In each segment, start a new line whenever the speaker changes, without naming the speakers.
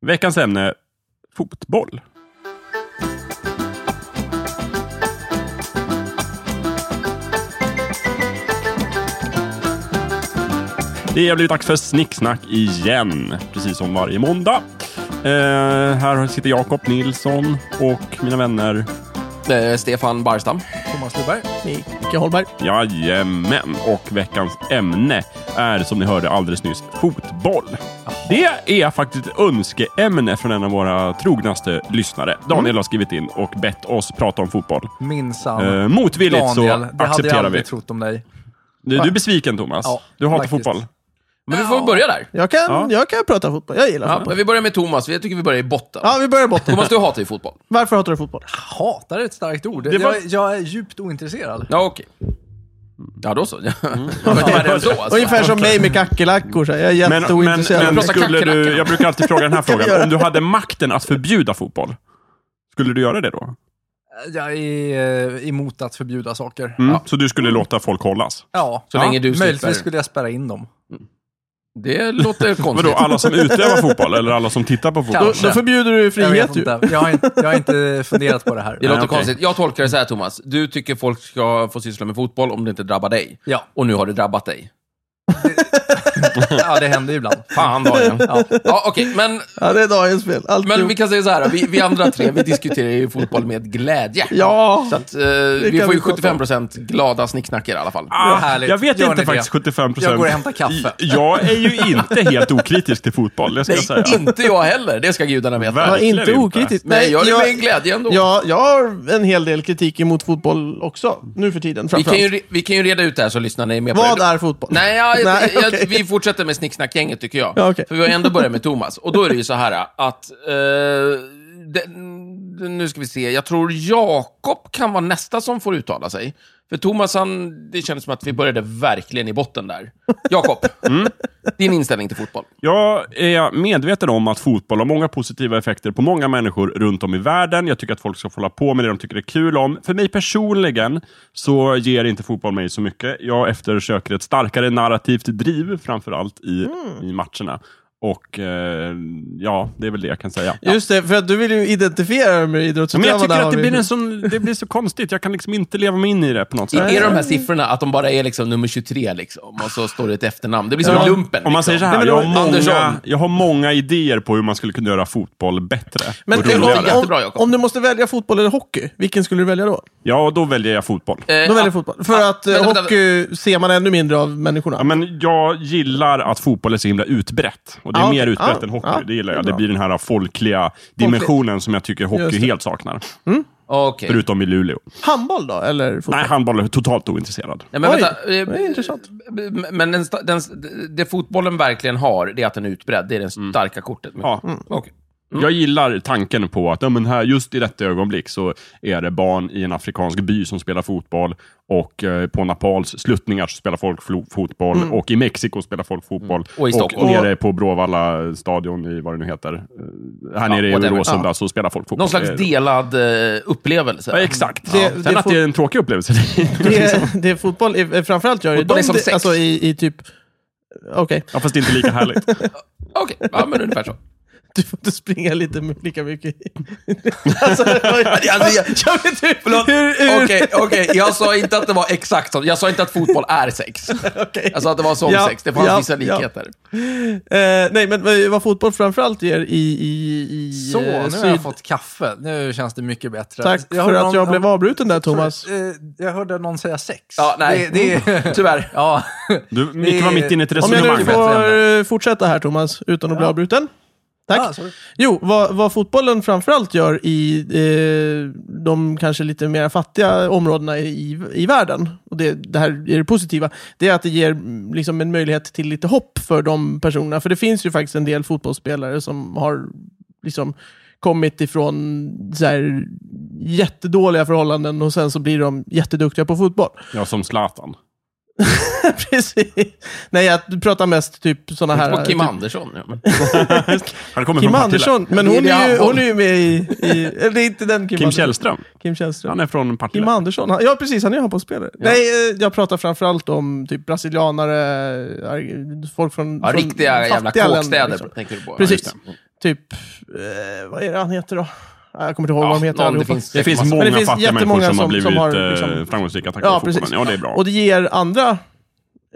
Veckans ämne, fotboll. Det har blivit dags för snicksnack igen, precis som varje måndag. Eh, här sitter Jakob Nilsson och mina vänner.
Eh, Stefan Barstam.
Thomas Lundberg. Micke Holmberg.
Jajamän, och veckans ämne är som ni hörde alldeles nyss fotboll. Det är faktiskt ett önskeämne från en av våra trognaste lyssnare.
Mm.
Daniel har skrivit in och bett oss prata om fotboll.
Minsann.
Eh, motvilligt
Daniel,
så
det hade jag
accepterar vi.
aldrig trott om dig.
Du, du är besviken Thomas.
Ja,
du hatar
faktiskt.
fotboll.
Men vi får väl börja där.
Jag kan,
Ja.
jag kan prata fotboll. Jag gillar
Ja,
fotboll.
men vi börjar med Thomas. Jag tycker vi börjar i botten.
Ja, vi börjar botten.
Thomas, du hatar ju fotboll.
Varför hatar du fotboll?
Alltså,
Hatar är ett starkt ord.
Det var-
jag, jag är djupt ointresserad.
Ja, okej. Ja, då så. Mm. Värre än så alltså.
Ungefär som mig med kackerlackor. så här. Jag är
Men, men,
jätteointresserad.
men
Prata
skulle du,
kackerlacka.
jag brukar alltid fråga den här
vi
frågan.
göra?
Om du hade makten att förbjuda fotboll, skulle du göra det då?
Jag är eh, emot att förbjuda saker.
Mm.
Ja.
Så du skulle låta folk hållas?
ja.
Så länge du
Möjligtvis
slipper.
skulle jag spärra in dem.
Det låter konstigt.
Vadå, alla som utövar fotboll eller alla som tittar på fotboll?
då, då förbjuder du
Jag, vet
frihet ju.
inte. jag, har inte, jag har inte funderat på det här.
Det låter
okej.
konstigt. Jag tolkar det så här, Thomas. Du tycker folk ska få syssla med fotboll om det inte drabbar dig.
Ja.
Och nu har det drabbat dig.
Ja, det händer ju ibland.
Fan, Daniel. Ja, ja okej. Men,
Ja, det är dagens fel. Allt
men
du...
vi kan säga så här. Vi, vi andra tre, vi diskuterar ju fotboll med glädje.
Ja,
Så att, eh, vi
kan
får ju
vi prata om.
75% glada snicknackar i alla fall.
Ah,
Härligt.
Jag vet
Gör
inte
ni
faktiskt, 75 procent.
Jag går och hämtar kaffe.
Jag är ju inte helt okritisk till fotboll, det ska jag säga.
Inte jag heller, det ska gudarna veta.
Verkligen
var inte
inte.
okritiskt.
Nej, jag är
jag,
med glädje ändå.
jag, jag har en hel del kritik emot fotboll också, nu för tiden.
vi, kan
framförallt.
ju, re- vi kan ju reda ut det här så lyssnarna är med på
Vad
det.
är fotboll?
Nej, ja,
Nej,
jag,
okej.
jag, vi fortsätter med snicksnackgänget tycker jag.
Ja, okej.
För vi har ändå börjat med Thomas. Och då är det ju så här att... Eh, den- nu ska vi se, jag tror Jakob kan vara nästa som får uttala sig. För Thomas, han, det känns som att vi började verkligen i botten där. Jakob,
Mm.
din inställning till fotboll.
Jag är medveten om att fotboll har många positiva effekter på många människor runt om i världen. Jag tycker att folk ska få hålla på med det de tycker är kul om. För mig personligen så ger inte fotboll mig så mycket. Jag eftersöker ett starkare narrativt driv, framförallt i, i matcherna. Och eh, ja, det är väl det jag kan säga.
Just det, för att du vill ju identifiera dig med
Men
idrottsutövarna.
jag tycker
har
att det
vi-
blir, en sån, det blir så konstigt. Jag kan liksom inte leva mig in i det på något
I,
sätt.
är de här siffrorna att de bara är liksom nummer 23 liksom, och så står det ett efternamn? Det blir som lumpen.
Om man
liksom.
säger så här,
Nej,
jag,
men
har många,
Andersson.
jag har många idéer på hur man skulle kunna göra fotboll bättre.
Men
och
om,
låter
roligare.
jättebra,
om,
Jakob.
om du måste välja fotboll eller hockey, vilken skulle du välja då?
Ja, då väljer jag fotboll.
Eh,
Då väljer
ah,
jag fotboll. För att eh,
vänta, vänta.
hockey ser man ännu mindre av människorna.
Ja, men jag gillar att fotboll är så himla utbrett. Och det är
Ja,
mer
okej.
utbrett
Ja,
än hockey.
ja,
det gillar
det
jag.
är
Det
bra.
blir den här folkliga dimensionen som jag tycker hockey
Just det.
helt saknar.
Ah, Okej.
Förutom i Luleå.
Handboll då, eller fotboll?
Nej, handboll är totalt ointresserad.
Nej, men
Oj,
vänta. eh,
det är intressant.
b- b- Men den, sta- den, det fotbollen verkligen har, det är att den är utbredd. Det är det starka kortet. Men-
Mm. Ja.
Mm.
Okej.
Jag gillar tanken på att ja, men här, just i detta ögonblick så är det barn i en afrikansk by som spelar fotboll och eh, på Napals sluttningar så spelar folk flo- fotboll
Mm.
och i Mexiko spelar folk fotboll.
Mm. Och i Stockholm.
nere på Bråvalla stadion i vad det nu heter. Eh, Här nere i
whatever.
Råsunda så spelar folk fotboll.
Någon slags
Eh,
delad eh, upplevelse.
Ja, exakt.
Det-
ja.
det
Sen att
får-
det är en tråkig upplevelse.
Det, det är fotboll, i- eh, framförallt gör ju
Fotboll
de
är som
det,
sex.
alltså i, i typ... Okej,
ja, fast det är inte lika härligt.
Okej, ja, men ungefär så.
du får inte springa lite med lika mycket. alltså, jag, alltså, jag, jag vet inte
Förlåt.
hur... hur
Okej, okej. Jag sa inte att det var exakt så. Jag sa inte att fotboll är sex.
okej.
Jag sa att det var som
Ja,
sex. Det fanns
ja,
vissa
ja.
likheter.
Eh, nej, men vad- vad fotboll framförallt ger i, i, i
Så,
eh,
nu har
syd...
jag fått kaffe. Nu känns det mycket bättre.
Tack för
hörde
att
någon-
jag blev
någon-
avbruten där, Thomas. Mm.
Eh, Jag hörde någon säga sex.
Ja, nej. Mm.
Det, det,
Tyvärr.
ja.
Du, Micke var mitt inne i ett
Om jag
resonemang.
nu får eh, fortsätta här, Thomas, utan att bli avbruten. Tack.
Ah, sorry.
Jo, vad, vad fotbollen framförallt gör i eh, de kanske lite mer fattiga områdena i, i världen, och det, det här är det positiva, det är att det ger mm, liksom, en möjlighet till lite hopp för de personerna. För det finns ju faktiskt en del fotbollsspelare som har liksom, kommit ifrån så här, jättedåliga förhållanden och sen så blir de jätteduktiga på fotboll.
Ja, som Zlatan.
Precis. Nej, jag pratar mest typ sådana här...
Och Kim
typ,
Andersson. Ja, men.
Han kommer
Kim
från Partille.
Andersson, men
Det är
hon
det
är, ju,
handboll.
hon är ju med i... i eller det är inte den Kim,
Kim
Andersson.
Källström.
Kim Källström.
Han är från Partille.
Kim Andersson. Han, ja, precis. Han är ju handbollsspelare. Nej, eh, jag pratar framförallt om typ brasilianare, arg- folk från...
Ja,
från
riktiga
fattiga
jävla
länder,
kåkstäder
liksom.
tänker du på.
Precis.
Ja, just det.
typ, eh, vad är det han heter då? Ah, Jag kommer inte ihåg vad de heter
någon, det
allihopa.
finns,
Det
säkert
finns
massa.
många
Men det finns
fattiga människor
jättemånga
som, har
som-
blivit
som har,
eh,
liksom-
framgångsrika tack
Ja,
vare fotbollen.
precis.
Ja, det är bra.
Och det ger andra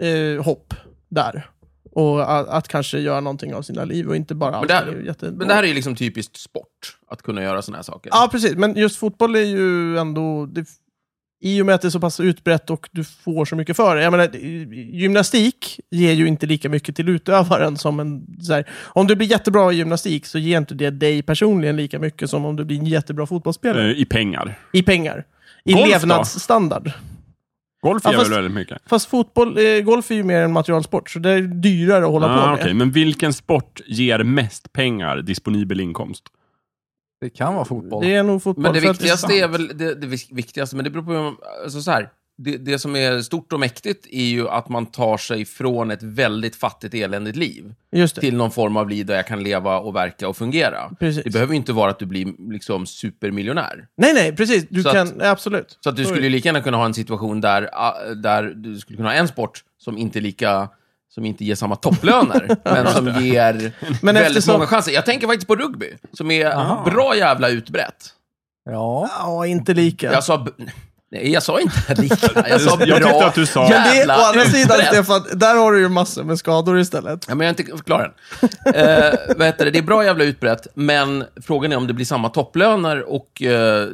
eh, hopp där. Och att, att kanske göra någonting av sina liv och inte bara...
Men det här-
allting är jättedåligt.
Men det här är ju liksom typiskt sport, att kunna göra såna här saker.
Ja, precis. Men just fotboll är ju ändå... Det, I och med att det är så pass utbrett och du får så mycket för det. Jag menar, gymnastik ger ju inte lika mycket till utövaren som en... Så här, om du blir jättebra i gymnastik så ger inte det dig personligen lika mycket som om du blir en jättebra fotbollsspelare.
Eh, I pengar.
I pengar. I
Golf då?
levnadsstandard.
Golf
Ja,
ger
fast-
väl väldigt mycket?
Fast fotboll, eh, golf är ju mer en materialsport, så det är dyrare att hålla på
Ah,
med.
okej. Men vilken sport ger mest pengar, disponibel inkomst?
Det kan vara fotboll.
Det är nog fotboll.
Men det
för att-
viktigaste är väl det, det vik- viktigaste, men det beror på hur man, alltså så här, det, det som är stort och mäktigt är ju att man tar sig från ett väldigt fattigt, eländigt liv
Just det.
till någon form av liv där jag kan leva och verka och fungera.
Precis.
Det behöver ju inte vara att du blir liksom supermiljonär.
Nej, nej, precis. Du
Så
kan,
att-
absolut.
Så att du
Så är
skulle
det.
ju lika gärna kunna ha en situation där, ah, där du skulle kunna ha en sport som inte är lika som inte ger samma topplöner, men som ger
Men
väldigt
eftersom-
många chanser. Jag tänker faktiskt på rugby, som är bra jävla utbrett.
Ja.
Ja, inte lika.
Jag sa... b- Nej, jag sa inte lika. Jag sa bra.
Jag tyckte att du sa-
Men det är
jävla
å andra sidan,
utbrett.
Stefan, där har du ju massor med skador istället.
Ja, men jag är inte klar än. Eh, vad heter det? det är bra jävla utbrett, men frågan är om det blir samma topplöner och eh,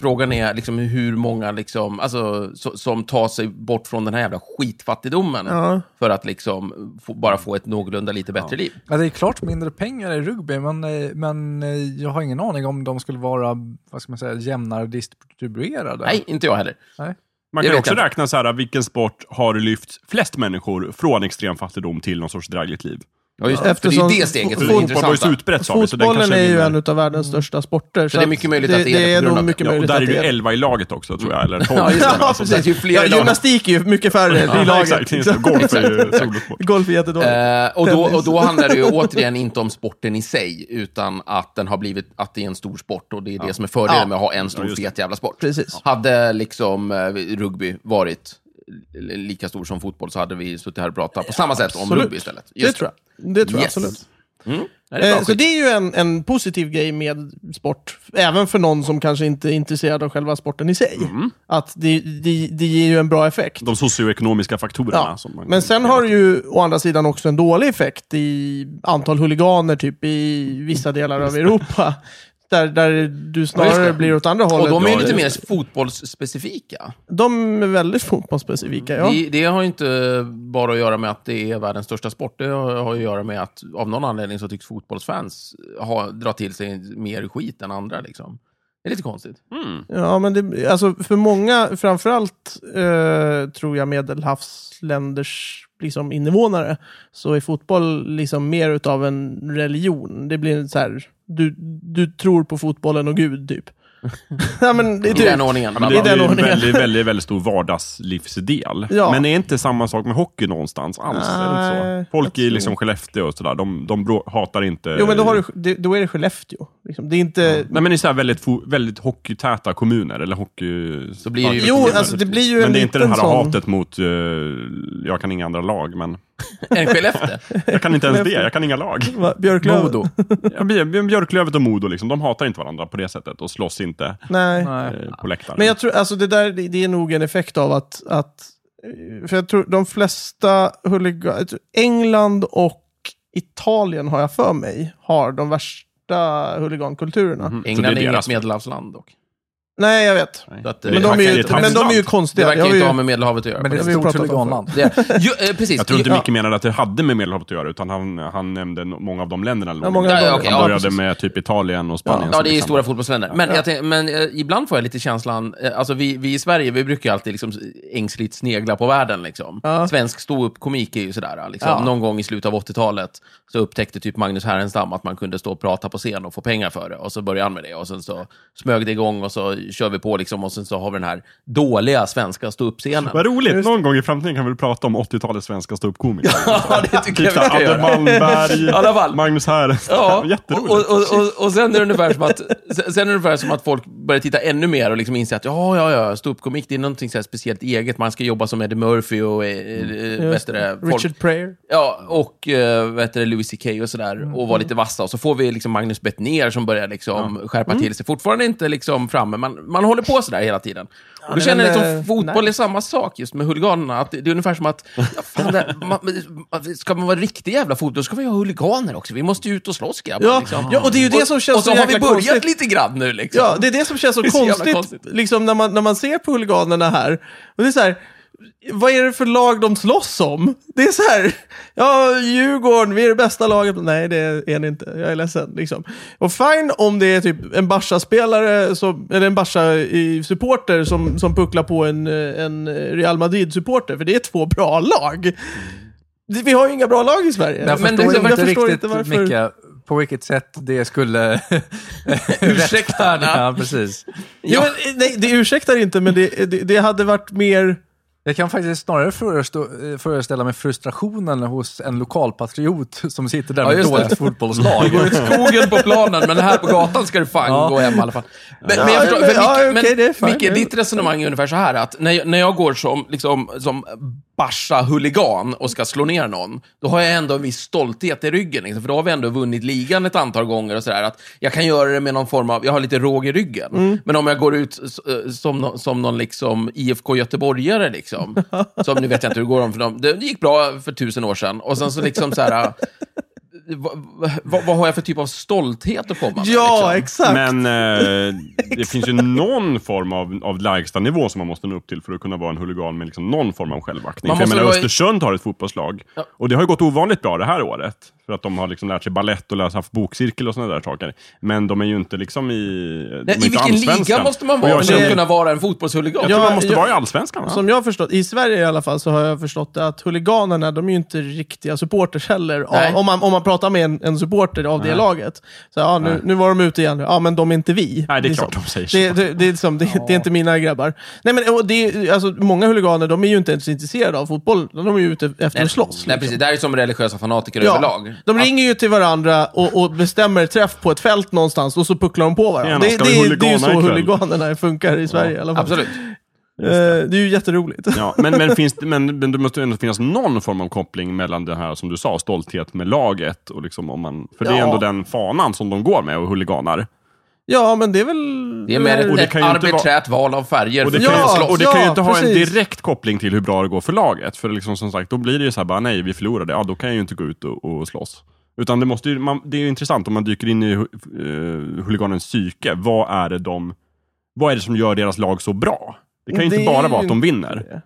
frågan är liksom hur många liksom, alltså, so, som tar sig bort från den här jävla skitfattigdomen
Ja.
för att liksom få, bara få ett någorlunda lite bättre liv.
Ja, Alltså, det är klart mindre pengar i rugby, men, eh, men eh, jag har ingen aning om de skulle vara vad ska man säga, jämnare distribuerade.
Nej, inte jag heller.
Nej.
Man
Det
kan
vet
också
jag inte.
räkna så här, vilken sport har lyft flest människor från extrem fattigdom till någon sorts drägligt liv?
Ja, just det. För det är
Eftersom
ju det steget som är
fot-
Fotboll var ju
intressant.
så utbrett sa vi, så den
Fotbollen
kanske
är ju
vinner.
en av världens största sporter.
det är
att
mycket möjligt att det är det
det
på
är
grund av
nog
det.
mycket
Ja, och
möjligt
där
att
är
det
du
är det.
11 i laget också, tror jag. Eller 12.
Ja, just det.
Ja,
Alltså,
precis.
det är ju flera
Ja,
i laget.
gymnastik är ju mycket färre i
Ja,
laget.
exakt. Just det. Golf är ju solosport.
Golf är jättedåligt.
Eh, och, då, och då
Tennis.
handlar det ju återigen inte om sporten i sig, utan att den har blivit, att det är en stor sport och det är det som är fördelen
Ja.
med att ha en stor
just det.
fet jävla sport.
Precis.
Hade liksom eh, rugby varit li- lika stor som fotboll så hade vi suttit här och pratat på samma sätt om
absolut.
rugby istället.
Det tror jag. Det tror jag
Yes.
absolut.
Nej, det är
Eh,
bra
Så
skit.
det är ju en, en positiv grej med sport, även för någon som kanske inte är intresserad av själva sporten i sig.
Mm.
Att det, det, det ger ju en bra effekt.
De socioekonomiska faktorerna.
Ja.
Som man
Men sen har det ju å andra sidan också en dålig effekt i antal huliganer typ i vissa delar av Europa. Där, där du
Ja,
snarare
just det.
blir åt andra
Och
hållet.
de är ju lite
just
mer fotbollsspecifika.
De är väldigt fotbollsspecifika, ja.
Det, det har ju inte bara att göra med att det är världens största sport. Det har har ju att göra med att av någon anledning så tycks fotbollsfans ha, dra till sig mer skit än andra. Liksom. Det är lite konstigt.
Ja, men det, alltså för många, framförallt eh, tror jag medelhavsländers liksom, invånare, så är fotboll liksom mer utav en religion. Det blir så här, du, du tror på fotbollen och Gud, typ. ja, men det är
I
typ.
den ordningen.
Ja, men det
I
är
den
ju en
ordningen.
väldigt, väldigt, väldigt stor vardagslivsdel.
Ja.
Men det är inte samma sak med hockey någonstans alls. Är det
Nej,
inte så? Folk
jag
i
tror-
liksom Skellefteå och sådär, de, de brå- hatar inte...
Jo, men då, har du, det, då är det Skellefteå. Liksom. Det är inte...
Nej, men i så här väldigt, fo- väldigt hockeytäta kommuner, eller hockey...
Så blir det ju-
Jo, alltså det blir ju en
Men det är inte det
liten
här
sån...
hatet mot, eh, jag kan inga andra lag, men...
Är det Skellefteå?
Jag kan inte ens det, jag kan inga lag.
Va, Björklöv?
Ja, Björ- Björklövet och Modo, liksom, de hatar inte varandra på det sättet och slåss inte
Nej.
Nej.
eh, på läktaren.
Men jag tror, alltså det där, det det är nog en effekt av att, att eh, för jag tror de flesta huliganer, England och Italien har jag för mig, har de värsta huligankulturerna.
Mm, så
England är,
det är
inget
deras. eh,
medelhavsland dock.
Nej, jag vet.
Nej.
Så att,
Det
Men de,
verkar-
är ju,
det är ett
men de är ju
havsland.
Det
konstiga.
verkar
Jag har
inte
ju-
ha med Medelhavet att göra.
Men det är
har
ett
vi
stort
pratat om
huliganland.
Det- ju, eh, precis.
Jag tror inte
Ju-
Micke menade att det hade med Medelhavet att göra, utan han, han nämnde no- många av de länderna. eller
Ja,
någonting.
många av
Ja, ja,
dem.
okej,
Han
ja,
började
precis.
med typ Italien och Spanien.
Ja,
som
det är ju
exempel.
stora fotbollsländer. Men, jag tänk, men eh, ibland får jag lite känslan, eh, alltså vi, vi i Sverige, vi brukar ju alltid liksom ängsligt snegla på världen. Liksom.
Ja.
Svensk ståuppkomik är ju sådär, liksom.
Ja.
någon gång i slutet av 80-talet så upptäckte typ Magnus Härenstam att man kunde stå och prata på scen och få pengar för det. Och så började han med det och sen så smög det igång och så kör vi på liksom och sen så har vi den här dåliga svenska ståuppscenen.
Vad roligt! Någon gång i framtiden kan vi väl prata om 80-talets svenska ståuppkomiker.
Ja, det tycker
Typ
jag vi ska
såhär Adde
göra. I alla fall.
Malmberg, Magnus Härenstam.
Ja,
Jätteroligt.
och, och, och, och sen är det ungefär som att, sen sen är det ungefär som att folk börjar titta ännu mer och liksom inser att ja, ja, ja, ståuppkomik, det är någonting så här speciellt eget. Man ska jobba som Eddie Murphy och eh, eh, vad heter det, folk,
Richard Prayer.
Ja, och eh, vad heter det, Louis CK och sådär, och
Mm.
var lite vassa. Och så får vi liksom Magnus Bettner som börjar liksom skärpa
Mm.
till sig. Fortfarande inte liksom framme, man, man håller på sådär hela tiden. och då
det är
känner jag
väl,
liksom,
eh,
fotboll
nice.
är samma sak just med huliganerna. Att det, det är ungefär som att, ja, fan, det, man, man- ska man vara riktig jävla fotboll, då ska vi ha huliganer också. Vi måste ju ut och slåss grabbar.
Ja,
liksom.
ja, och det är ju det som känns
Och så
så
har vi
jäkla
börjat
konstigt.
lite grann nu liksom.
Ja, det är det som känns så,
Det är så jävla
konstigt,
konstigt.
Liksom när, man, när man ser på huliganerna här. Och det är så här, vad är det för lag de slåss om? Det är så här, ja, Djurgården, vi är det bästa laget. Nej, det är ni inte. Jag är ledsen. Liksom. Och fine om det är typ en Barca-spelare, som- eller en Barca-supporter som, som pucklar på en, eh, en Real Madrid-supporter, för det är två bra lag. Det- Vi har ju inga bra lag i Sverige.
Jag
Men
förstår
det-
inte
jag
riktigt, Micke, på vilket sätt det skulle
Ursäkta,
Ja, precis.
Jo, men, eh, nej, det ursäktar inte, men det, det, det hade varit mer...
Jag kan faktiskt snarare förestå, eh, föreställa mig frustrationen hos en lokalpatriot som sitter där
Ja,
med
just det.
dåligt fotbollslag.
Det går ut skogen på planen, men här på gatan ska du fan
Ja.
gå hem i alla fall. Men,
Ja,
men jag förstår,
men-
men,
ja,
Micke,
okej, det är fine.
men, Micke, ditt resonemang är ungefär så här att när jag, när jag går som, liksom, som Barca-huligan och ska slå ner någon, då har jag ändå en viss stolthet i ryggen. Liksom, för då har vi ändå vunnit ligan ett antal gånger och sådär. att Jag kan göra det med någon form av, jag har lite råg i ryggen.
Mm.
Men om jag går ut s- eh, som, nå- som någon liksom IFK Göteborgare, liksom, som nu vet jag inte hur det går om för dem. Det gick bra för tusen år sedan. Och sen så liksom så här... Vad, vad, vad har jag för typ av stolthet att komma med?
Ja,
liksom?
exakt.
Men eh, det finns ju någon form av, av lägsta nivå som man måste nå upp till för att kunna vara en huligan med liksom någon form av självaktning.
Man
För jag
måste
menar,
vara i-
Östersund har ett fotbollslag.
Ja.
Och det har ju gått ovanligt bra det här året. För att de har liksom lärt sig ballett och läst, haft bokcirkel och sådana där saker. Men de är ju inte liksom i... de är
Nej, I
inte
vilken liga
allsvenskan.
måste man
Och
vara
Jag,
för att
känner,
kunna vara en fotbollshuligan?
jag tror
Ja,
man måste
jag-
vara i Allsvenskan va?
Som jag har förstått, i Sverige i alla fall, så har jag förstått det att huliganerna, de är ju inte riktiga supporters heller.
Nej.
Ja, om, man, om man pratar med en, en supporter av det laget. Så ja, nu, nu var de ute igen. Ja, men de är inte vi.
Nej, det är
liksom.
klart de säger så.
Det, det, det, är liksom, det, det är inte mina grabbar. Nej, men och det, alltså, många huliganer, de är ju inte ens intresserade av fotboll. De är ju ute efter att slåss. liksom.
Nej, precis. Det här är som religiösa fanatiker överlag.
de ringer ju till varandra och, och bestämmer träff på ett fält någonstans och så pucklar de på varandra.
Tjena,
Det,
ska
det,
vi
det, är ju
huligana
så
ikväll?
huliganerna funkar i Sverige i alla fall.
Absolut.
Eh, det är ju jätteroligt.
Ja, men, men, finns, det- men, men det måste ju ändå finnas någon form av koppling mellan det här, som du sa, stolthet med laget. Och liksom om man, för det är
Ja.
ändå den fanan som de går med och huliganar.
Ja, men det är väl... eh,
Det är mer
Och
ett,
det
ett
kan ju inte
arbiträrt val av färger.
Och det,
för
Ja,
kan,
att
ju,
slåss.
och det kan ju
ja,
inte ha en
precis.
direkt koppling till hur bra det går för laget. För liksom som sagt, då blir det ju så här bara, nej vi förlorade, ja då kan jag ju inte gå ut och, och slåss. Utan det, måste ju, man, det är ju intressant om man dyker in i hu- eh, huliganens psyke. Vad är, det de, vad är det som gör deras lag så bra? Det kan ju
Det
inte bara
är
vara
ju
att de
inte
vinner.
det.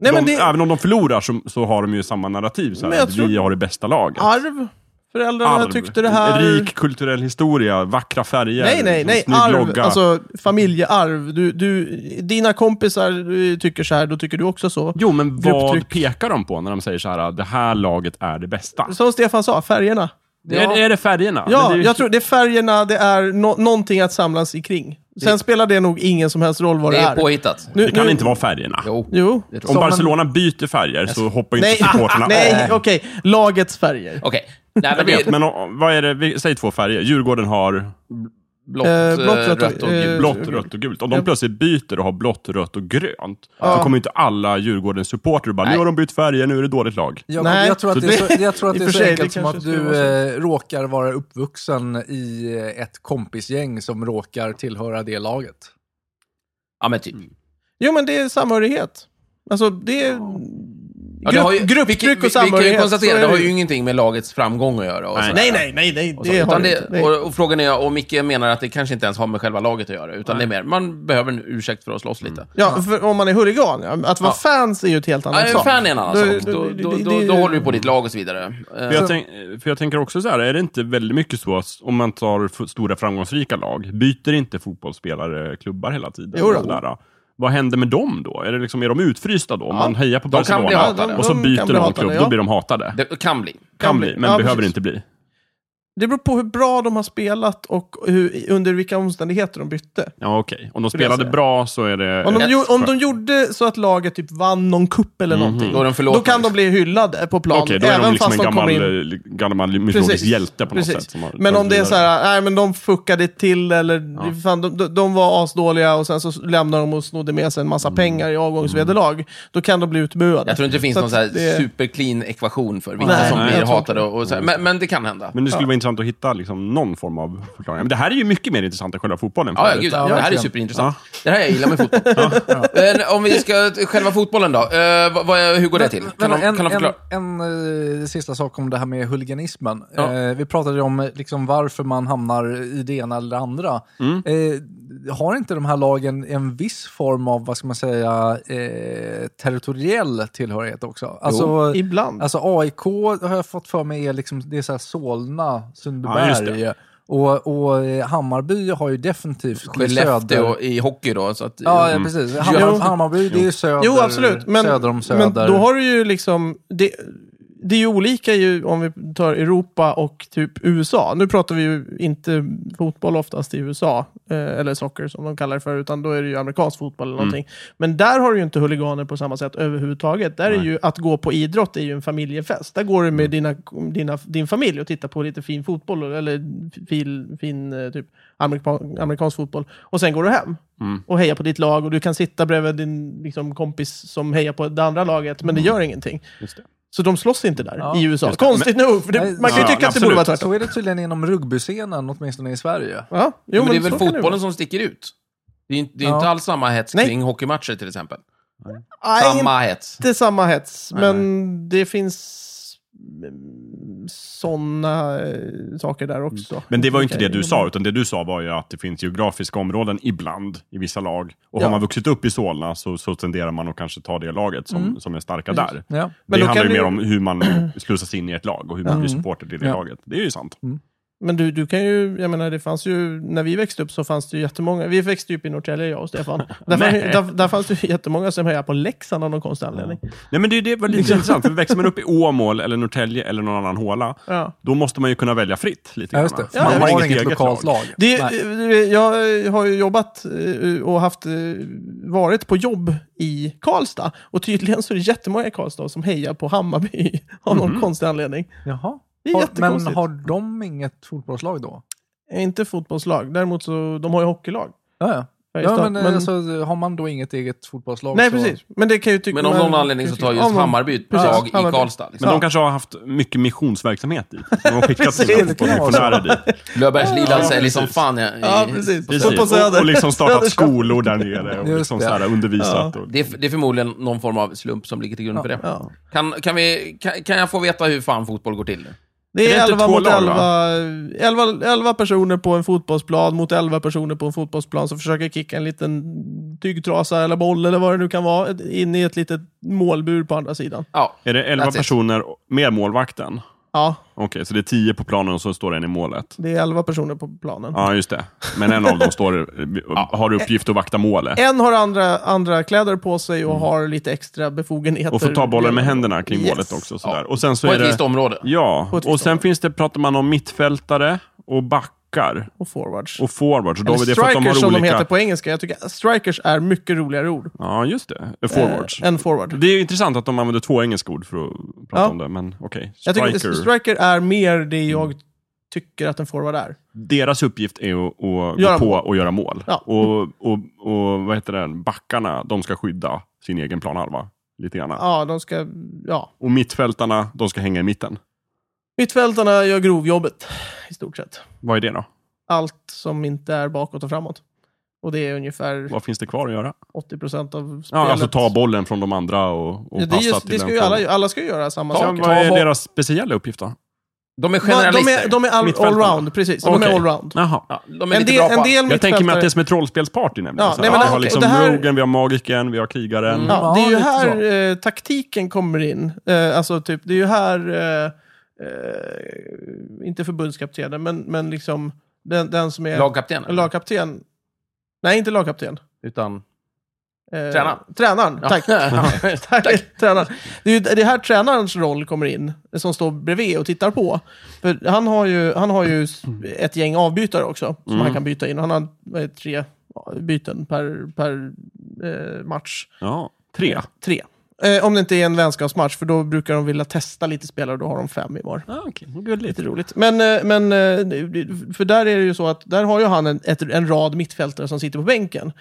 Nej, men
de,
det...
Även om de förlorar så, så har de ju samma narrativ. Så
Men
här,
jag
att
tror-
Vi har det bästa laget.
Arv. Föräldrarna
Arv.
tyckte det här...
Rik kulturell historia, vackra färger, liksom
Nej, nej, nej.
snygg
Arv.
logga.
Alltså familjearv. Du, du, dina kompisar eh, tycker så här, då tycker du också så.
Jo, men vad
Grupptryck.
pekar de på när de säger så här, det här laget är det bästa?
Som Stefan sa, färgerna.
Är, är det färgerna? Men
Ja,
det är ju-
jag tror det är färgerna, det är no någonting att samlas i kring. Sen spelar det nog ingen som helst roll vad
Det
det,
är
är.
påhittat.
Nu,
Det kan
nu...
inte vara färgerna.
Jo.
Jo.
Det tror
Om
jag.
Barcelona byter färger så hoppar inte
Nej,
supportrarna av.
nej okej. Lagets färger.
Okej. Nej,
Jag
men
vet,
det är
men o- vad är det? Vi- Säg två färger. Djurgården har
blått,
Eh, blått,
eh,
rött och-
rött och gult.
eh,
blått, rött och gult. Om de plötsligt byter och har blått, rött och grönt, så kommer inte alla Djurgårdens supportrar bara, nu har de bytt färger, nu är det dåligt lag.
Jag,
Nej.
jag tror att det är så, jag tror att
I
det är
och
så
för sig,
enkelt
det
som att
kanske skulle
du
vara
eh, råkar vara uppvuxen i eh, ett kompisgäng som råkar tillhöra det laget.
Ja, men typ.
Jo, men det är samhörighet. Alltså, det är...
Ja, det
Grupp,
har ju-
grupptryck
vi,
och
vi, vi kan ju
samhörighet. så
konstatera,
är
det har ju ingenting med lagets framgång att göra. Och
Nej.
sådär.
Nej, nej, nej, nej.
Och, så.
Det har
utan
det
det,
inte. Nej.
och, och frågan är om Micke menar att det kanske inte ens har med själva laget att göra, utan det är mer, man behöver en ursäkt för att slåss lite.
Ja, för om man är huligan. ja. Att vara
Ja.
fans är ju ett helt annat
Nej,
sak.
fan är en annan
Då-
sak. Då,
då-
då,
det-
då,
det-
då håller vi på ditt lag och så vidare. Eh,
För
Alltså-
jag, tänk, för jag tänker också så här, är det inte väldigt mycket så att om man tar f- stora framgångsrika lag, byter inte fotbollsspelare klubbar hela tiden?
Jo då.
Och sådär. Vad händer med dem då? Är, det liksom, är de utfrysta då? Om man hejar på
de kan bli
Barcelona
hatade.
och så
De
byter
kan bli
någon
hatade,
klubb,
ja.
då blir de hatade.
Det kan bli.
Kan bli, men
Ja,
behöver
precis.
inte bli.
Det beror på hur bra de har spelat och hur, under vilka omständigheter de bytte.
Ja, okej. Om de
Skulle jag
spelade
säga.
bra så är det...
Om de,
rätt
gjo- om
skönt.
de gjorde så att laget typ vann någon kupp eller någonting,
Då är Mhm. de förlåtna,
då kan de
liksom.
bli hyllade på plan.
Okej, då är
även
de liksom en
fast de
gammal,
kommer in
eh, gammal mytologisk hjälte på något
precis.
sätt. som har-
Men om det är så här, nej men de fuckade till eller
Ja.
fan, de- de, de var asdåliga och sen så lämnade de och snodde med sig en
Mm.
massa pengar i avgångsvederlag. Då kan de bli utbuade.
Jag tror inte det finns
Så
någon så här
att det-
superclean ekvation för vilka
Nej,
som
nej,
blir
jag
tror
hatade. Och, och så här. Men, men det kan hända.
Men det skulle vara intressant att hitta liksom, någon form av förklaring. Men det här är ju mycket mer intressant än själva fotbollen. för
Ja, ja,
övrigt.
gud,
Ja,
det här är
verkligen.
superintressant. Det här jag gillar med fotboll. Men Om vi ska, själva fotbollen då. Eh, vad, vad, hur går det till? Kan,
Men
de, kan de förklara?
en, en eh, sista sak om det här med huliganismen.
Ja.
Eh, vi pratade ju om eh, liksom, varför man hamnar i det ena eller det andra. Eh, har inte de här lagen en viss form av, vad ska man säga, eh, territoriell tillhörighet också? Alltså,
Ibland.
alltså AIK har jag fått för mig är, liksom, det är så här Solna,
Ja, just
Sundbyberg. och, och eh, Hammarby har ju definitivt söder.
Skellefteå i hockey då. Så att,
Ja, ja, precis. Hammar,
Jo.
Hammarby, det är ju söder,
Jo, absolut. Men,
söder om söder.
men då har du ju liksom... Det, det är ju olika ju om vi tar Europa och typ USA. Nu pratar vi ju inte fotboll oftast i USA, eh, eller socker som de kallar det för, utan då är det ju amerikansk fotboll eller
Mm.
någonting. Men där har du ju inte huliganer på samma sätt överhuvudtaget. Där är ju att gå på idrott är ju en familjefest. Där går du med dina,
Mm.
dina, din familj och tittar på lite fin fotboll, eller fin, fin eh, typ amerika- amerikansk fotboll. Och sen går du hem
Mm.
och hejar på ditt lag och du kan sitta bredvid din liksom, kompis som hejar på det andra laget, men det gör ingenting.
Mm. Just det.
Så de slåss inte där
Ja.
i USA.
det.
Konstigt nog, för det,
Nej,
man kan ju
ja,
tycka att det borde vara
absolut.
tvärtom.
Så är det tydligen inom rugbyscenen, åtminstone i Sverige.
Ja, jo,
men det är väl
så kan vara.
fotbollen som sticker ut? Det är, inte- det är
Ja.
inte alls samma hets
Nej.
kring hockeymatcher till exempel.
Nej,
Samma hets.
inte samma hets,
Nej,
men det finns sådana saker där också.
Mm. Men det var ju inte det
Okej,
du
men-
sa, utan det du sa var ju att det finns geografiska områden ibland i vissa lag. Och har
Ja.
man vuxit upp i Solna så, så tenderar man att kanske ta det laget som, som är starka där.
Ja.
Men
Men
det
då
handlar ju
kan
mer
du-
om hur man slussas in i ett lag och hur man blir supporter till det
Ja.
laget. Det är ju sant.
Men du, du kan ju, jag menar det fanns ju, när vi växte upp så fanns det ju jättemånga, vi växte ju upp i Norrtälje jag och Stefan. Där, fann,
Nej.
där, där fanns det ju jättemånga som hejade på Leksand av någon konstig anledning.
Nej, men det, är- det var lite intressant, för växer man upp i Åmål eller Norrtälje eller någon annan håla,
Ja.
då måste man ju kunna välja fritt. Lite
Ja,
grann.
just det.
man
man
har
har
inget
inget
eget
lokalt
lag.
lag.
Det,
Nej.
eh, jag har ju jobbat eh, och haft, eh, varit på jobb i Karlstad. Och tydligen så är det jättemånga i Karlstad som hejar på Hammarby av någon
Mhm.
konstig anledning.
Jaha.
Det är
Har, men
jättekonstigt.
har de inget fotbollslag då?
Eh, Inte fotbollslag, däremot så de har ju hockeylag.
Ja, ja.
här i
ja
stan.
men, eh, Alltså, har man då inget eget fotbollslag
nej,
så...
precis. Men det kan ju tycka...
Men av
man-
någon anledning så tar just
Av någon-
Hammarby ett
Precis,
lag i
Hammarby.
Karlstad. Liksom.
Men de kanske har haft mycket missionsverksamhet dit. De har skickat
Precis,
sina
det
kan vara så.
fotbollsmissionärer dit.
Löfbergslilan
Ja,
säljer som
precis.
fan. Ja, i-
Ja, precis. Och
Precis.
på Söder.
Och, och liksom startat
Söder.
skolor där nere och
Just
liksom
det.
så här undervisat. Och,
Det, är, det är förmodligen någon form av slump som ligger till grund för det.
Ja.
Kan, kan, vi, kan, kan jag få veta hur fan fotboll går till? nu?
Det
Är det
är
inte
11
två
mot
lag,
11, 11, 11 personer på en fotbollsplan mot 11 personer på en fotbollsplan som försöker kicka en liten tygtrasa eller boll eller vad det nu kan vara ett- in i ett litet målbur på andra sidan.
Ja.
Är det 11
That's it.
personer med målvakten?
Ja,
Okej, så det är 10 på planen och så står en i målet.
det är 11 personer på planen.
Ja, just det. Men en av dem står, har uppgift att vakta målet.
En har andra, andra kläder på sig och har lite extra befogenheter.
Mm. Och får ta bollen med händerna kring
Yes.
målet också. Sådär. Och sen så
På
är
ett visst
det,
område.
ja,
På ett
och
visst
sen
område.
finns det, pratar man om mittfältare och backar
Och forwards.
och forwards. Och då
Eller
har vi det för att de
strikers
har
som de
olika...
heter på engelska. Jag tycker strikers är mycket roligare ord.
Ja, just det. Forwards.
Eh, än forward.
Det är ju intressant att de använder två engelska ord för att prata
Ja.
om det, men okej.
Jag tycker
Striker. Mm.
striker är mer det jag tycker att en forward är.
Deras uppgift är att, att
Göra
gå på
mål.
och göra mål.
Ja.
Och, och, och vad heter det? Backarna, de ska skydda sin egen planhalva. Lite grann.
Ja, de ska... Ja.
Och mittfältarna, de ska hänga i mitten.
Mittfältarna gör grovjobbet, i stort sett.
Vad är det då?
Allt som inte är bakåt och framåt. Och det är ungefär
Vad finns det kvar att göra?
80% av spelet.
Ja, alltså ta bollen från de andra och, och
Ja, det är
passa
just,
till
det
den
ska ju
formen.
alla, alla ska ju göra samma
Ja,
sak.
vad är
Ta-
deras speciella uppgift då?
De är
De
generalister.
är, de är all,
Mittfältarna.
allround, precis. De
Okej.
är allround.
Jaha.
ja, de är
En
lite
del,
bra på
en del
Jag tänker mig att det är
mittfältare...
som ett rollspelsparty nämligen.
Ja,
så
nej,
här,
men
vi
okej,
har liksom
och det här-
rogen, vi har magiken, vi har krigaren.
Mm.
Ja, det är ju
Ja, lite
här eh, taktiken kommer in. Eh, alltså, typ, det är ju här, eh, eh, inte förbundskaptenen, men, men liksom den, den som är
lagkapten.
lagkapten. Nej, inte lagkapten.
Utan
Eh,
Tränaren.
Tränaren, tack. Tack, tränaren. Det är ju det här tränarens roll kommer in, som står bredvid och tittar på. För han har ju, han har ju s- ett gäng avbytare också, som han kan byta in. Han har vad är det, tre byten per, per eh, match.
Ja, tre.
Tre. Eh, om det inte är en vänskapsmatch, för då brukar de vilja testa lite spelare och då har de fem i var.
Ah, okay. Gulligt.
Lite roligt. Men, eh, men eh, det- för där är det ju så att där har ju han en, ett, en rad mittfältare som sitter på bänken.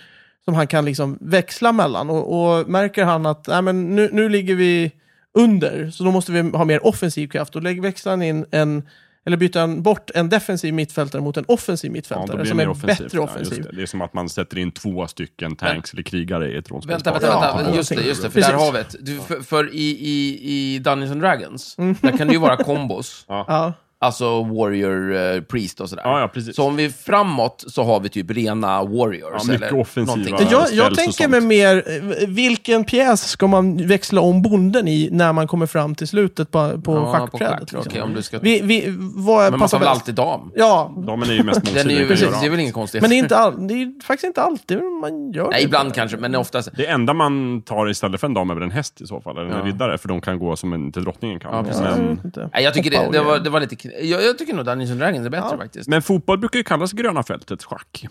Som han kan liksom växla mellan. Och, och märker han att nej, men nu, nu ligger vi under, så då måste vi ha mer offensiv kraft. Då lägger- växlar han in en, eller byter han bort en defensiv mittfältare mot en offensiv
Ja, då
mittfältare
blir det
som
mer
är
offensivt.
bättre
Ja,
offensiv.
just det. det är som att man sätter in två stycken tanks eller krigare i ett rånspel.
Vänta, vänta, vänta.
Ja,
Just det, just det. För
precis.
där har vi ett. Du, för, för i, i, i Dungeons and Dragons, där kan det ju vara kombos.
Mm. Ja.
Alltså Warrior eh, Priest och sådär.
Ja, ja, precis.
Så om vi framåt så har vi typ rena Warriors.
Ja, mycket
eller
offensiva.
någonting.
Ja,
Jag, jag
ställs och
tänker
sånt.
mig mer, eh, vilken pjäs ska man växla om bonden i när man kommer fram till slutet på, på
Ja,
schackbrädet?
schack,
liksom?
okej, om du ska...
vi, vi, vad
Men man
passar
tar väl
bäst?
alltid dam?
Ja,
Damen är ju mest
Den är
mångsidig.
ju,
att göra.
det är väl ingen konstighet?
men det är, inte all, det är faktiskt inte alltid man gör
Nej,
det.
ibland kanske, men oftast...
Det enda man tar istället för en dam är väl en häst i så fall, eller en
Ja.
riddare, för de kan gå som inte drottningen kan.
Ja, precis.
Jag
men,
vet inte.
Nej, jag tycker det,
Hoppa och
det, var,
grejer.
det var lite... kn- Jag, jag tycker nog Dungeons and Dragons är bättre
Ja.
faktiskt.
men fotboll brukar ju kallas gröna fältet schack.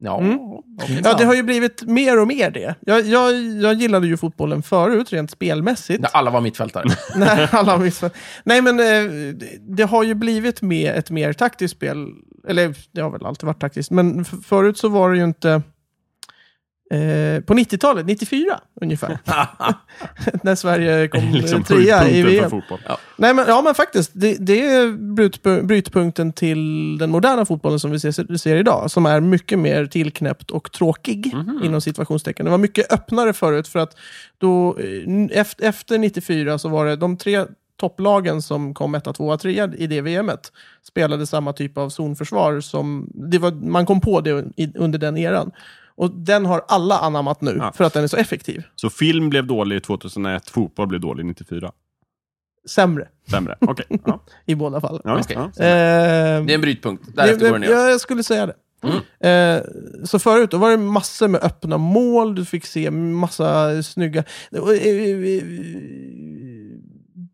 Ja.
Mm.
okej.
Ja, det har ju blivit mer och mer det. Jag, jag, jag gillade ju fotbollen förut, rent spelmässigt.
När alla var mittfältare.
när alla har missat. Nej, men eh, det- det har ju blivit med ett mer taktiskt spel. Eller det har väl alltid varit taktiskt, men f- förut så var det ju inte... Eh, på 90-talet, 94 ungefär, när Sverige
Det
kom
är liksom
eh, trea i
höjdpunkten för
VM.
fotboll.
Nej, men, ja, men faktiskt. Det, det är brytp- brytpunkten till den moderna fotbollen som vi ser, ser idag, som är mycket mer tillknäppt och tråkig,
Mhm.
inom situationstecken. Det var mycket öppnare förut, för att då, efter, efter 94 så var det de tre topplagen som kom etta, tvåa, trea i det VMet spelade samma typ av zonförsvar som det var, man kom på det i, under den eran. Och den har alla anammat nu,
Ja.
för att den är så effektiv.
Så film blev dålig 2001, fotboll blev dålig 94.
Sämre,
Sämre. Okej. Ja.
i båda fallen.
Ja,
Okej.
ja.
Eh,
Det är en brytpunkt. Därefter går Mm. det ner.
Ja, jag skulle säga det. Eh, så förut, då var det massor med öppna mål, du fick se massa snygga... och, eh, eh,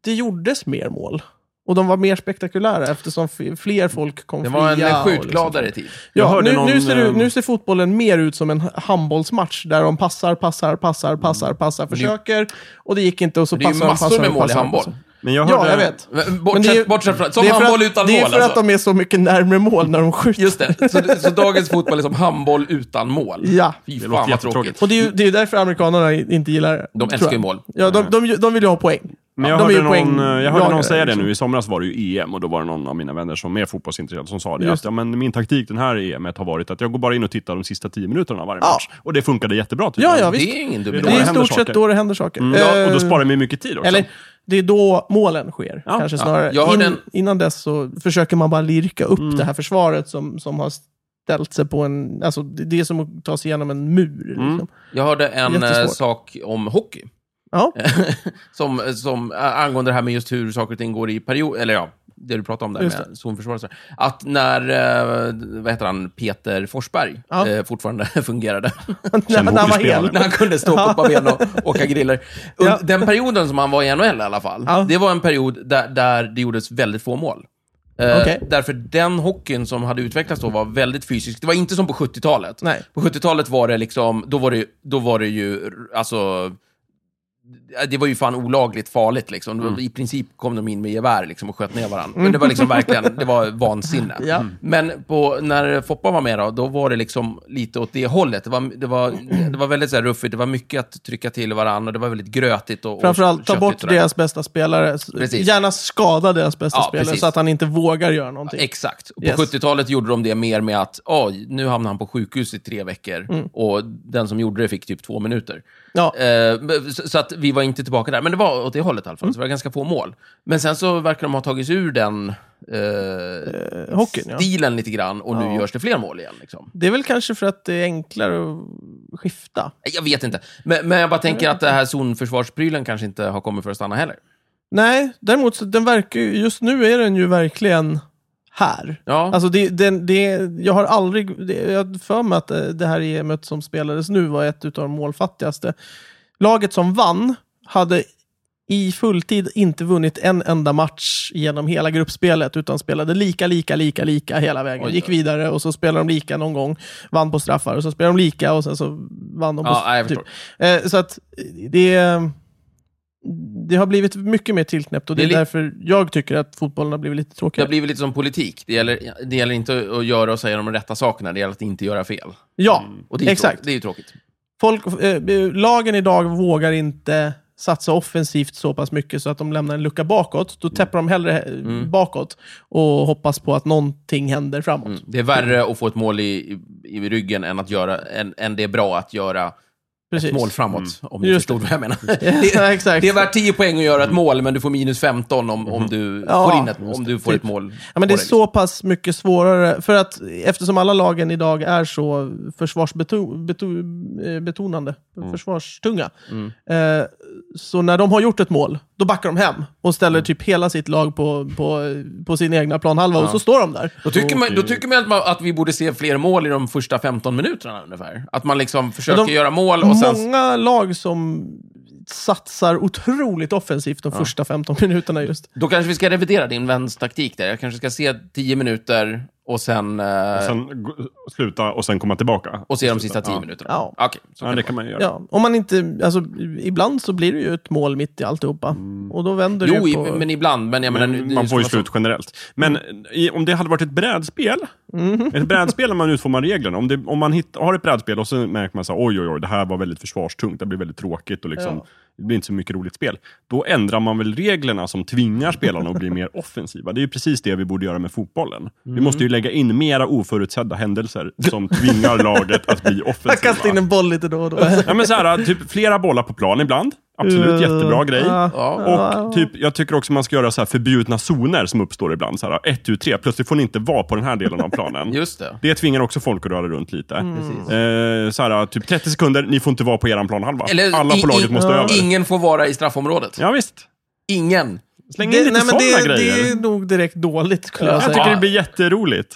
Det gjordes mer mål. Och de var mer spektakulära eftersom f- fler folk kom
Det var en
fria.
eh,
och liksom-
skjutgladare tid.
Jag
Ja,
hörde
nu,
någon,
nu, ser du,
eh,
ehm,
nu ser fotbollen mer ut som en handbollsmatch där de passar, passar, passar, passar, passar, försöker. Och det gick inte och så
Det är ju
passar de,
massor
passar
med
de,
mål i
passar de,
handboll.
passar.
Men jag
Ja,
hörde...
jag vet. Men det är ju-
Bortsett, bortsett från... Som
Det är för
handboll
att,
utan
Det är
mål
för att
alltså.
de är så mycket närmare mål när de skjuter.
Just det. Så, så dagens fotboll är som handboll utan mål.
Ja.
Fy
Det
fan
låter
vad
jättetråkigt.
tråkigt.
Och det är ju det är ju därför amerikanerna inte gillar det.
De
tror
älskar ju Mm.
jag.
mål.
Ja, de, de, de vill ju ha poäng.
Men jag
de
hörde,
är ju
någon, eh,
poängjagare,
jag hörde någon säga det
liksom.
nu. I somras var det ju EM och då var det någon av mina vänner som är fotbollsintresserad som sa det.
Just
Att, ja, men min taktik den här EMet har varit att jag går bara in och tittar de sista tio minuterna av varje
Ja.
match. Och det funkade jättebra
Ja, ja,
Det
visst.
är ju ingen dum
Det är då
Det är i
idé.
händer
stort sett
saker.
då det händer saker.
Mm, ja, och då
Eh,
sparar vi mycket tid också.
Eller, det är då målen sker,
Ja,
kanske
ja.
snarare.
Jag har
In,
den-
Innan dess så försöker man bara lirka upp
Mm.
det här försvaret som, som har ställt sig på en... Alltså, det det är som att ta sig igenom en mur.
Mm.
Liksom.
Jag hörde en eh,
Jättesvårt.
sak om hockey.
Ja.
som, som eh, angående det här med just hur saker och ting går i period, eller ja, det du pratade om där
Just
med zonförsvar och sådär. Att när, eh, vad heter han, Peter Forsberg
Ja.
eh, fortfarande fungerade.
när när han var
hockeyspelare.
hel.
när han kunde stå på ett par ben och åka griller. Und-
Ja.
Den perioden som han var i NHL i alla fall,
Ja.
det var en period där, där det gjordes väldigt få mål. Eh,
Okej.
Därför den hockeyn som hade utvecklats då var väldigt fysisk. Det var inte som på 70-talet.
Nej.
På 70-talet var det liksom, då var det, då var det ju, alltså, det var ju fan olagligt farligt liksom.
Mm.
Det var- I princip kom de in med gevär liksom, och sköt ner varandra. Men det var liksom verkligen, det var vansinne.
Ja.
Men på, när Foppa var med då, då var det liksom lite åt det hållet. Det var, det var, det var väldigt så här ruffigt, det var mycket att trycka till varandra och det var väldigt grötigt och
Framförallt
och
ta
köttigt
bort
och där.
deras bästa spelare.
Precis.
Gärna skada deras bästa
Ja,
spelare
precis.
så att han inte vågar göra någonting.
Exakt. Och På
Typ. Yes.
70-talet gjorde de det mer med att, oj, nu hamnar han på sjukhus i tre veckor och den som gjorde det fick typ två minuter.
Mm. Ja.
Eh, men- så- Så att vi var inte tillbaka där, men det var åt det hållet i alla fall.
Mm.
Så det var ganska få mål. Men sen så verkar de ha tagits ur den eh,
Eh, hockeyn, ja.
stilen lite grann och nu görs det fler mål igen. Liksom.
Det är väl kanske för att det är enklare att skifta.
Nej, Jag vet inte. Men, men jag bara tänker att det här zonförsvarsprylen kanske inte har kommit för att stanna heller.
Nej, däremot så den verkar ju, just nu är den ju verkligen här.
Ja.
Alltså det, den- det, jag har aldrig, det, jag har för mig att eh, det här EMet som spelades nu var ett av de målfattigaste. Laget som vann hade i fulltid inte vunnit en enda match genom hela gruppspelet, utan spelade lika, lika, lika, lika hela vägen.
Oj, oj.
Gick vidare och så spelade de lika någon gång, vann på straffar och så spelade de lika och sen så vann de på
Ja, nej, jag
typ.
förstår.
Eh, Så att det, det har blivit mycket mer tillknäppt och det
Det är
är
li-
därför jag tycker att fotbollen har blivit lite
Det
tråkigare.
har blivit lite som politik. Det gäller, det gäller inte att göra och säga de rätta sakerna, det gäller att inte göra fel.
Ja,
Mm. Och det är ju
Exakt.
Tråkigt. Det är ju tråkigt.
folk, eh, lagen idag vågar inte satsa offensivt så pass mycket så att de lämnar en lucka bakåt.
Mm.
Då täpper de hellre eh, bakåt och hoppas på att någonting händer framåt.
Det är värre att få ett mål i, i, i ryggen än, att göra, än, än det är bra att göra
Precis.
ett mål framåt. Om ni
Just
förstod vad jag menar.
Ja, exakt. Mm-hmm.
Det är värt 10 poäng att göra ett mål, men du får minus 15 om, om du
Ja,
får in ett, om du får
typ.
ett mål.
Ja, men det är
på dig,
så pass mycket svårare, för att eftersom alla lagen idag är så försvarsbetonande,
Mm.
försvarstunga, eh, så när de har gjort ett mål, då backar de hem och ställer
Mm.
typ hela sitt lag på, på, på sin egna planhalva och så står de där.
Då tycker man, då tycker man, att, man att vi borde se fler mål i de första 15 minuterna ungefär. Att man liksom försöker
Men de-
göra mål och sen...
Många lag som satsar otroligt offensivt de första 15 minuterna just.
Då kanske vi ska revidera din vänstaktik där. Jag kanske ska se 10 minuter och sen... eh,
Och sen gå- sluta och sen komma tillbaka.
och se de sista 10 minuterna.
Ja.
Okej, så
Ja,
kan
det
det
kan man ju göra.
Ja, om man inte, alltså, ibland så blir det ju ett mål mitt i alltihopa. Och då vänder
vara. Jo,
det
i,
ju på... Mm,
men ibland. Men jag menar... nu-
Men
nu
man får ju
ska
slut generellt. Men i, om det hade varit ett brädspel,
Mhm.
ett brädspel när man utformar reglerna. Om, det, om man hitt, har ett brädspel och så märker man så här, oj, oj, oj, det här var väldigt försvarstungt, det blir väldigt tråkigt och liksom,
Ja.
det blir inte så mycket roligt spel. Då ändrar man väl reglerna som tvingar spelarna att bli mer offensiva. Det är ju precis det vi borde göra med fotbollen. Vi
Mm.
måste ju lägga in mera oförutsedda händelser som tvingar laget att bli
Jag kastar in
offensiva.
en boll lite då och då.
Ja, men så här, typ flera bollar på plan ibland. Absolut, jättebra grej.
Ja.
Ja.
Och typ, jag tycker också man ska göra så här förbjudna zoner som uppstår ibland. Så här, ett, tu, tre. Plötsligt får ni inte vara på den här delen av planen.
Just det.
Det tvingar också folk att röra runt lite.
Mm.
Eh, så här, typ 30 sekunder, ni får inte vara på eran planhalva.
Eller,
Alla
i-
på laget
i- Mm.
måste över.
Ingen får vara i straffområdet.
Ja, visst.
Ingen.
Släng in
Det,
lite
nej, men
sådana
det,
grejer.
det är nog direkt dåligt skulle jag
Alltså, Ja,
jag
säga.
tycker det blir jätteroligt.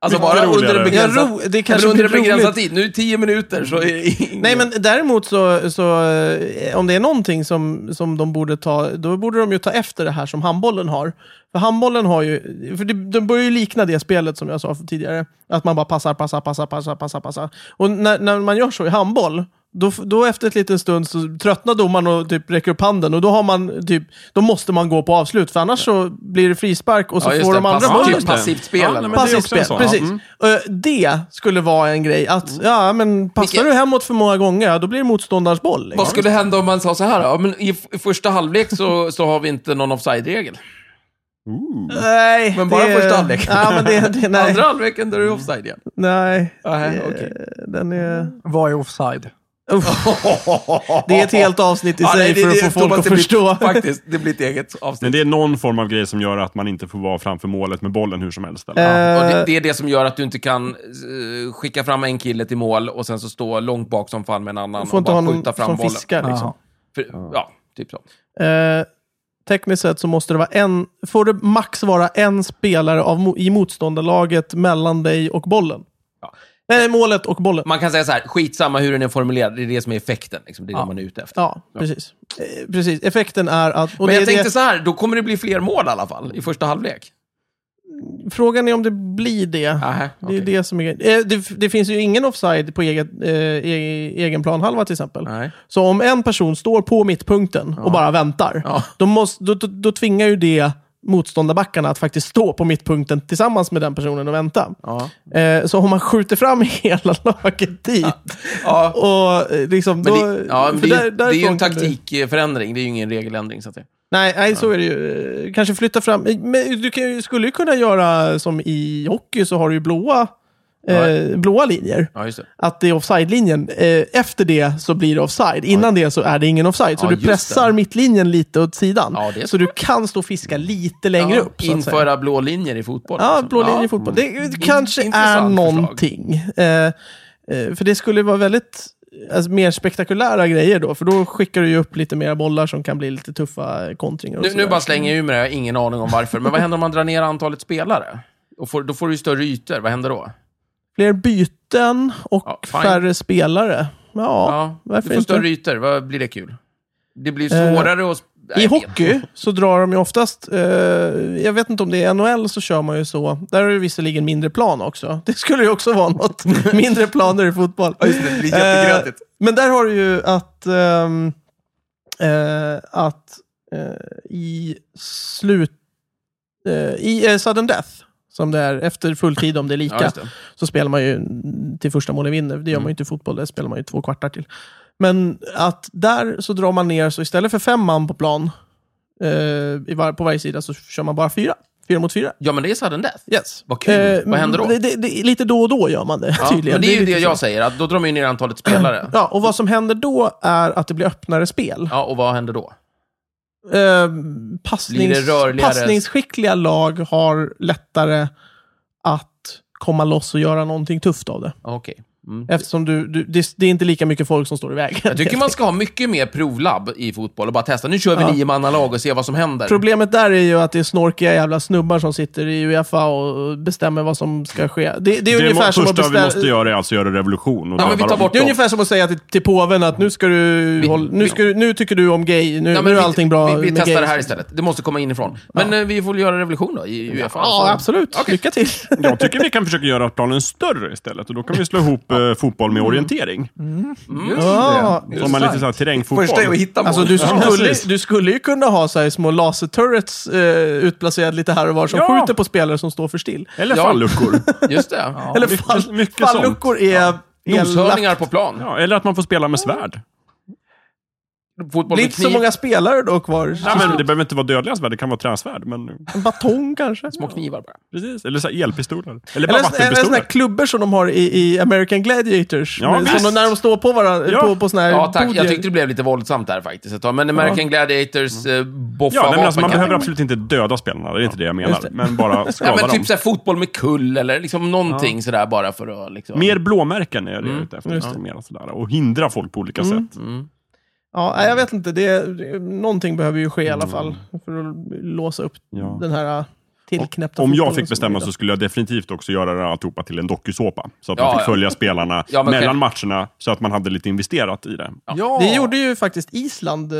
Alltså
Mycket
bara under
roligare.
en
Ja,
begränsad,
ro- det kanske
under en
blir
begränsad
roligt.
tid. Nu är det 10 minuter, så är det ingen...
Nej, men däremot så, så eh, om det är någonting som, som de borde ta, då borde de ju ta efter det här som handbollen har. För handbollen har ju, för det, de börjar ju likna det spelet som jag sa tidigare. Att man bara passar, passar, passar, passar, passar, passar. Och när, när man gör så i handboll, då, f- då efter ett liten stund så tröttnar domaren och typ räcker upp handen och då, har man, typ, då måste man gå på avslut för annars så blir det frispark och så
Ja, just
får
det.
de andra
Pass-
bollen.
typ passivt spel.
Ja,
eller
nej,
något.
men- det är
Passivt
också en
spel,
sån, Mm.
precis.
ja.
Mm.
Eh, Det skulle vara en grej. Att, ja, men passar
Vilket-
du hemåt för många gånger, ja, då blir det motståndarens boll.
Vad
Liksom.
skulle hända om man sa så här? Ja, men i, f- i första halvlek så, så har vi inte någon offside-regel.
Ooh.
Nej,
Men bara
det-
första halvlek.
Ja, men det, det, nej.
Andra halvleken, då är det offside igen.
Nej.
Nej,
Det-
okej.
Den är...
Vad är offside?
Uff, det är ett helt avsnitt i
Ja,
sig
nej, det-
för att
det-
få folk
Thomas,
att
det blir-
förstå.
Faktiskt, det blir ett eget avsnitt.
Men det är någon form av grej som gör att man inte får vara framför målet med bollen hur som helst. Eller?
Eh,
Och det, det är det som gör att du inte kan eh, skicka fram en kille till mål och sen så stå långt bak som fan med en annan
Får
och
inte
bara
ha någon
skjuta fram
som
bollen.
fiskar. Liksom.
Jaha.
För, ja, typ så.
Eh, tekniskt sett så måste det vara en... Får det max vara en spelare av, mo- i motståndarlaget mellan dig och bollen?
Ja.
Nej, målet och bollen.
Man kan säga så här, skitsamma hur den är formulerad, det är det som är effekten. Liksom. Det är det man är ute efter.
Ja, precis. Eh, precis. Effekten är att... Och
Men
det,
jag
är
tänkte så här, då kommer det bli fler mål i alla fall, i första halvlek.
det, frågan är om det blir det.
Aha,
det är det som är grejen. eh, det, det finns ju ingen offside på eget, eh, e- egen planhalva till exempel.
Nej.
Så om en person står på mittpunkten och bara väntar,
Ja.
då, måste, då, då, då tvingar ju det motståndarbackarna att faktiskt stå på mittpunkten tillsammans med den personen och vänta.
Ja.
Eh, så om man skjuter fram hela laget dit,
Ja.
och eh, liksom...
Men
då,
det, ja, men
för
det, är
där-
ju- det är ju
därifrån
en
kan du-
taktikförändring, det är ju ingen regeländring. Så att säga.
Nej, nej så är det ju. Eh, Kanske flytta fram. eh, Men du kan, ju- skulle ju kunna göra som i hockey, så har du ju blåa, eh, blåa linjer.
Ja, just det.
Att det är offside-linjen. Eh, efter det så blir det offside. Innan det så är det ingen offside. Så
Ja,
du
just
pressar
det.
mittlinjen lite åt sidan.
Ja, det är
så du kan stå och fiska lite längre
Ja,
upp. Så att säga.
Införa blå linjer i fotboll.
Ja,
liksom.
blå linje
Ja.
i fotboll. Det, det kanske är
Intressant förslag.
någonting. Eh, eh, för det skulle vara väldigt alltså, mer spektakulära grejer då. För då skickar du ju upp lite mera bollar som kan bli lite tuffa kontringar. och
Nu,
sådär.
nu bara slänger jag ur mig det, jag har ingen aning om varför. Men vad händer om man drar ner antalet spelare? Och får, då får du ju större ytor. Vad händer då?
Fler byten och
Ja, fine.
färre spelare. Ja, varför
du får
inte? Eh,
större ytor. Vad blir det kul? Det blir svårare att... sp- Nej,
I
jag vet.
hockey så drar de ju oftast, eh, jag vet inte om det är NHL så kör man ju så. Där är det visserligen mindre plan också. Det skulle ju också vara något. mindre planer i fotboll.
Ja, just det. Det blir jättegrötigt.
Eh, men där har du ju att, ehm, eh, att eh, i slut... Eh, I eh, sudden death, som det är efter fulltid om det är lika,
Ja, just det.
så spelar man ju till första målet vinner. Det gör
Mm.
man ju inte i fotboll, där spelar man ju två kvartar till. Men att där så drar man ner, så istället för fem man på plan eh, i var, på varje sida så kör man bara fyra. Fyra mot fyra.
Ja, men det är sudden death.
Yes. Eh, mm,
Vad kul. Vad händer då?
Det, det, det, lite då och då gör man det
Ja,
tydligen.
men det är ju
lite
det
så.
jag säger, att då drar man ju ner antalet spelare.
Ja, och vad som händer då är att det blir öppnare spel.
Ja, och vad händer då?
Eh, passnings,
Blir det rörligare?
passningsskickliga lag har lättare att komma loss och göra någonting tufft av det.
Ja, Okej. Mm.
Eftersom du, du, det, det är inte lika mycket folk som står i vägen.
Jag tycker man ska ha mycket mer provlabb i fotboll och bara testa. Nu kör vi
eh, Ja.
niomannalag och ser vad som händer.
Problemet där är ju att det är snorkiga jävla snubbar som sitter i Uefa och bestämmer vad som ska ske. Det, det är
Det
ungefär
må,
som att
första vi
beställa...
måste göra är alltså göra revolution. Och
Ja, men
döda
vi tar
dem.
bort
Det är
dem.
ungefär som att säga till, till påven att nu ska du,
Vi-
håll, nu,
vi-
ska, du- nu tycker du om gay, nu,
Ja,
nu
men
är
vi-
allting bra
Vi, vi
med
testar
gay.
det här istället. Det måste komma inifrån. Men eh, vi får väl göra revolution då i Uefa.
Ja, absolut. Lycka till.
Jag tycker vi kan försöka göra planen större istället. Och då kan vi slå ihop eh, fotboll med orientering.
Ja.
Som man lite så här terrängfotboll.
Första är att hitta mål.
Alltså, du, skulle,
precis.
du skulle ju kunna ha så här små laserturrets eh, utplacerade lite här och var som
Ja.
skjuter på spelare som står för still.
Eller
Ja.
falluckor.
Just det.
Eller
mycket-
fall,
mycket sånt.
falluckor är elakt.
Noshörningar på plan.
Ja, eller att man får spela med svärd.
Fotboll
Det är
med
inte så
kniv,
många spelare då kvar.
Nej, men det behöver inte vara dödliga svärd, det kan vara träsvärd. Men,
En batong kanske?
små knivar bara.
precis. Eller så här elpistoler. Eller bara
Eller såna- eller såna här
vattenpistoler.
klubbor som de har i, i American Gladiators.
Ja,
Men som
visst.
de, när de står på varandra,
Ja.
på, på såna här
Ja, tack.
podier.
Jag tyckte det blev lite våldsamt där faktiskt. ett tag. Men American Gladiators eh, boffa
Ja, nej, men alltså, man
vapen-
behöver absolut inte döda spelarna, det är inte det jag menar.
Just det.
Men bara
Ja,
skada
men
dem.
typ såhär fotboll med kull eller liksom någonting sådär bara för att liksom...
Mer blåmärken är det jag är ute efter. Lite mer sådär, och hindra folk på olika sätt.
Ja, nej, jag vet inte. Det, är- någonting behöver ju ske i alla fall för att låsa upp
Mm. Ja.
den här äh, tillknäppta
Om jag
fotbollen
fick
som
bestämma
är
så skulle jag definitivt också göra alltihopa till en dokusåpa. Så att
Ja,
man fick
ja.
följa spelarna
Ja, men
mellan matcherna, så att man hade lite investerat i det.
Ja.
Det gjorde ju faktiskt Island eh,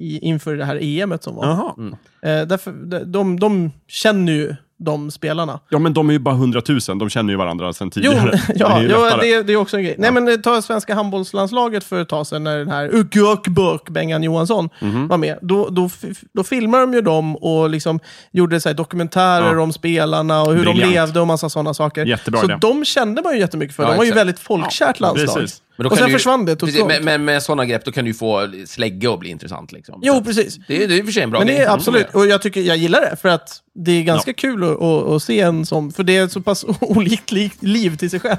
i, inför det här EMet som var.
Jaha.
Mm.
Eh, därför, de, de, de känner ju de spelarna.
Ja, men de är ju bara hundratusen. De känner ju varandra sedan
Jo,
tidigare.
ja,
ju
ja
lättare.
det, det är också en grej. Nej, men eh, ta svenska handbollslandslaget för ett tag sedan när den här Uggökburk, Bengan Johansson,
Mhm.
var med. Då, då, f- då filmade de ju dem och liksom gjorde så här dokumentärer
Ja.
om spelarna och hur de
Briljant.
levde och massa sådana saker.
Jättebra
så
idé.
de kände man ju jättemycket för.
Ja,
de var ju
exakt.
väldigt folkkärt landslag.
precis.
Men då
Och
kan
sen
du ju-
försvann det
Precis,
totalt.
men, men med sådana grepp, då kan du ju få slägga och bli intressant liksom. Så
Jo,
att
precis.
Det är det är i och för sig en bra
Men det
grej.
är absolut, och jag, tycker, jag gillar det för att det är ganska kul att, att, att se en som, för det är ett så pass olikt li, liv till sig själv.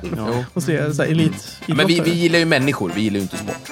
Att se så här, elit,
Ja, Men vi, vi gillar ju människor, vi gillar ju inte sport.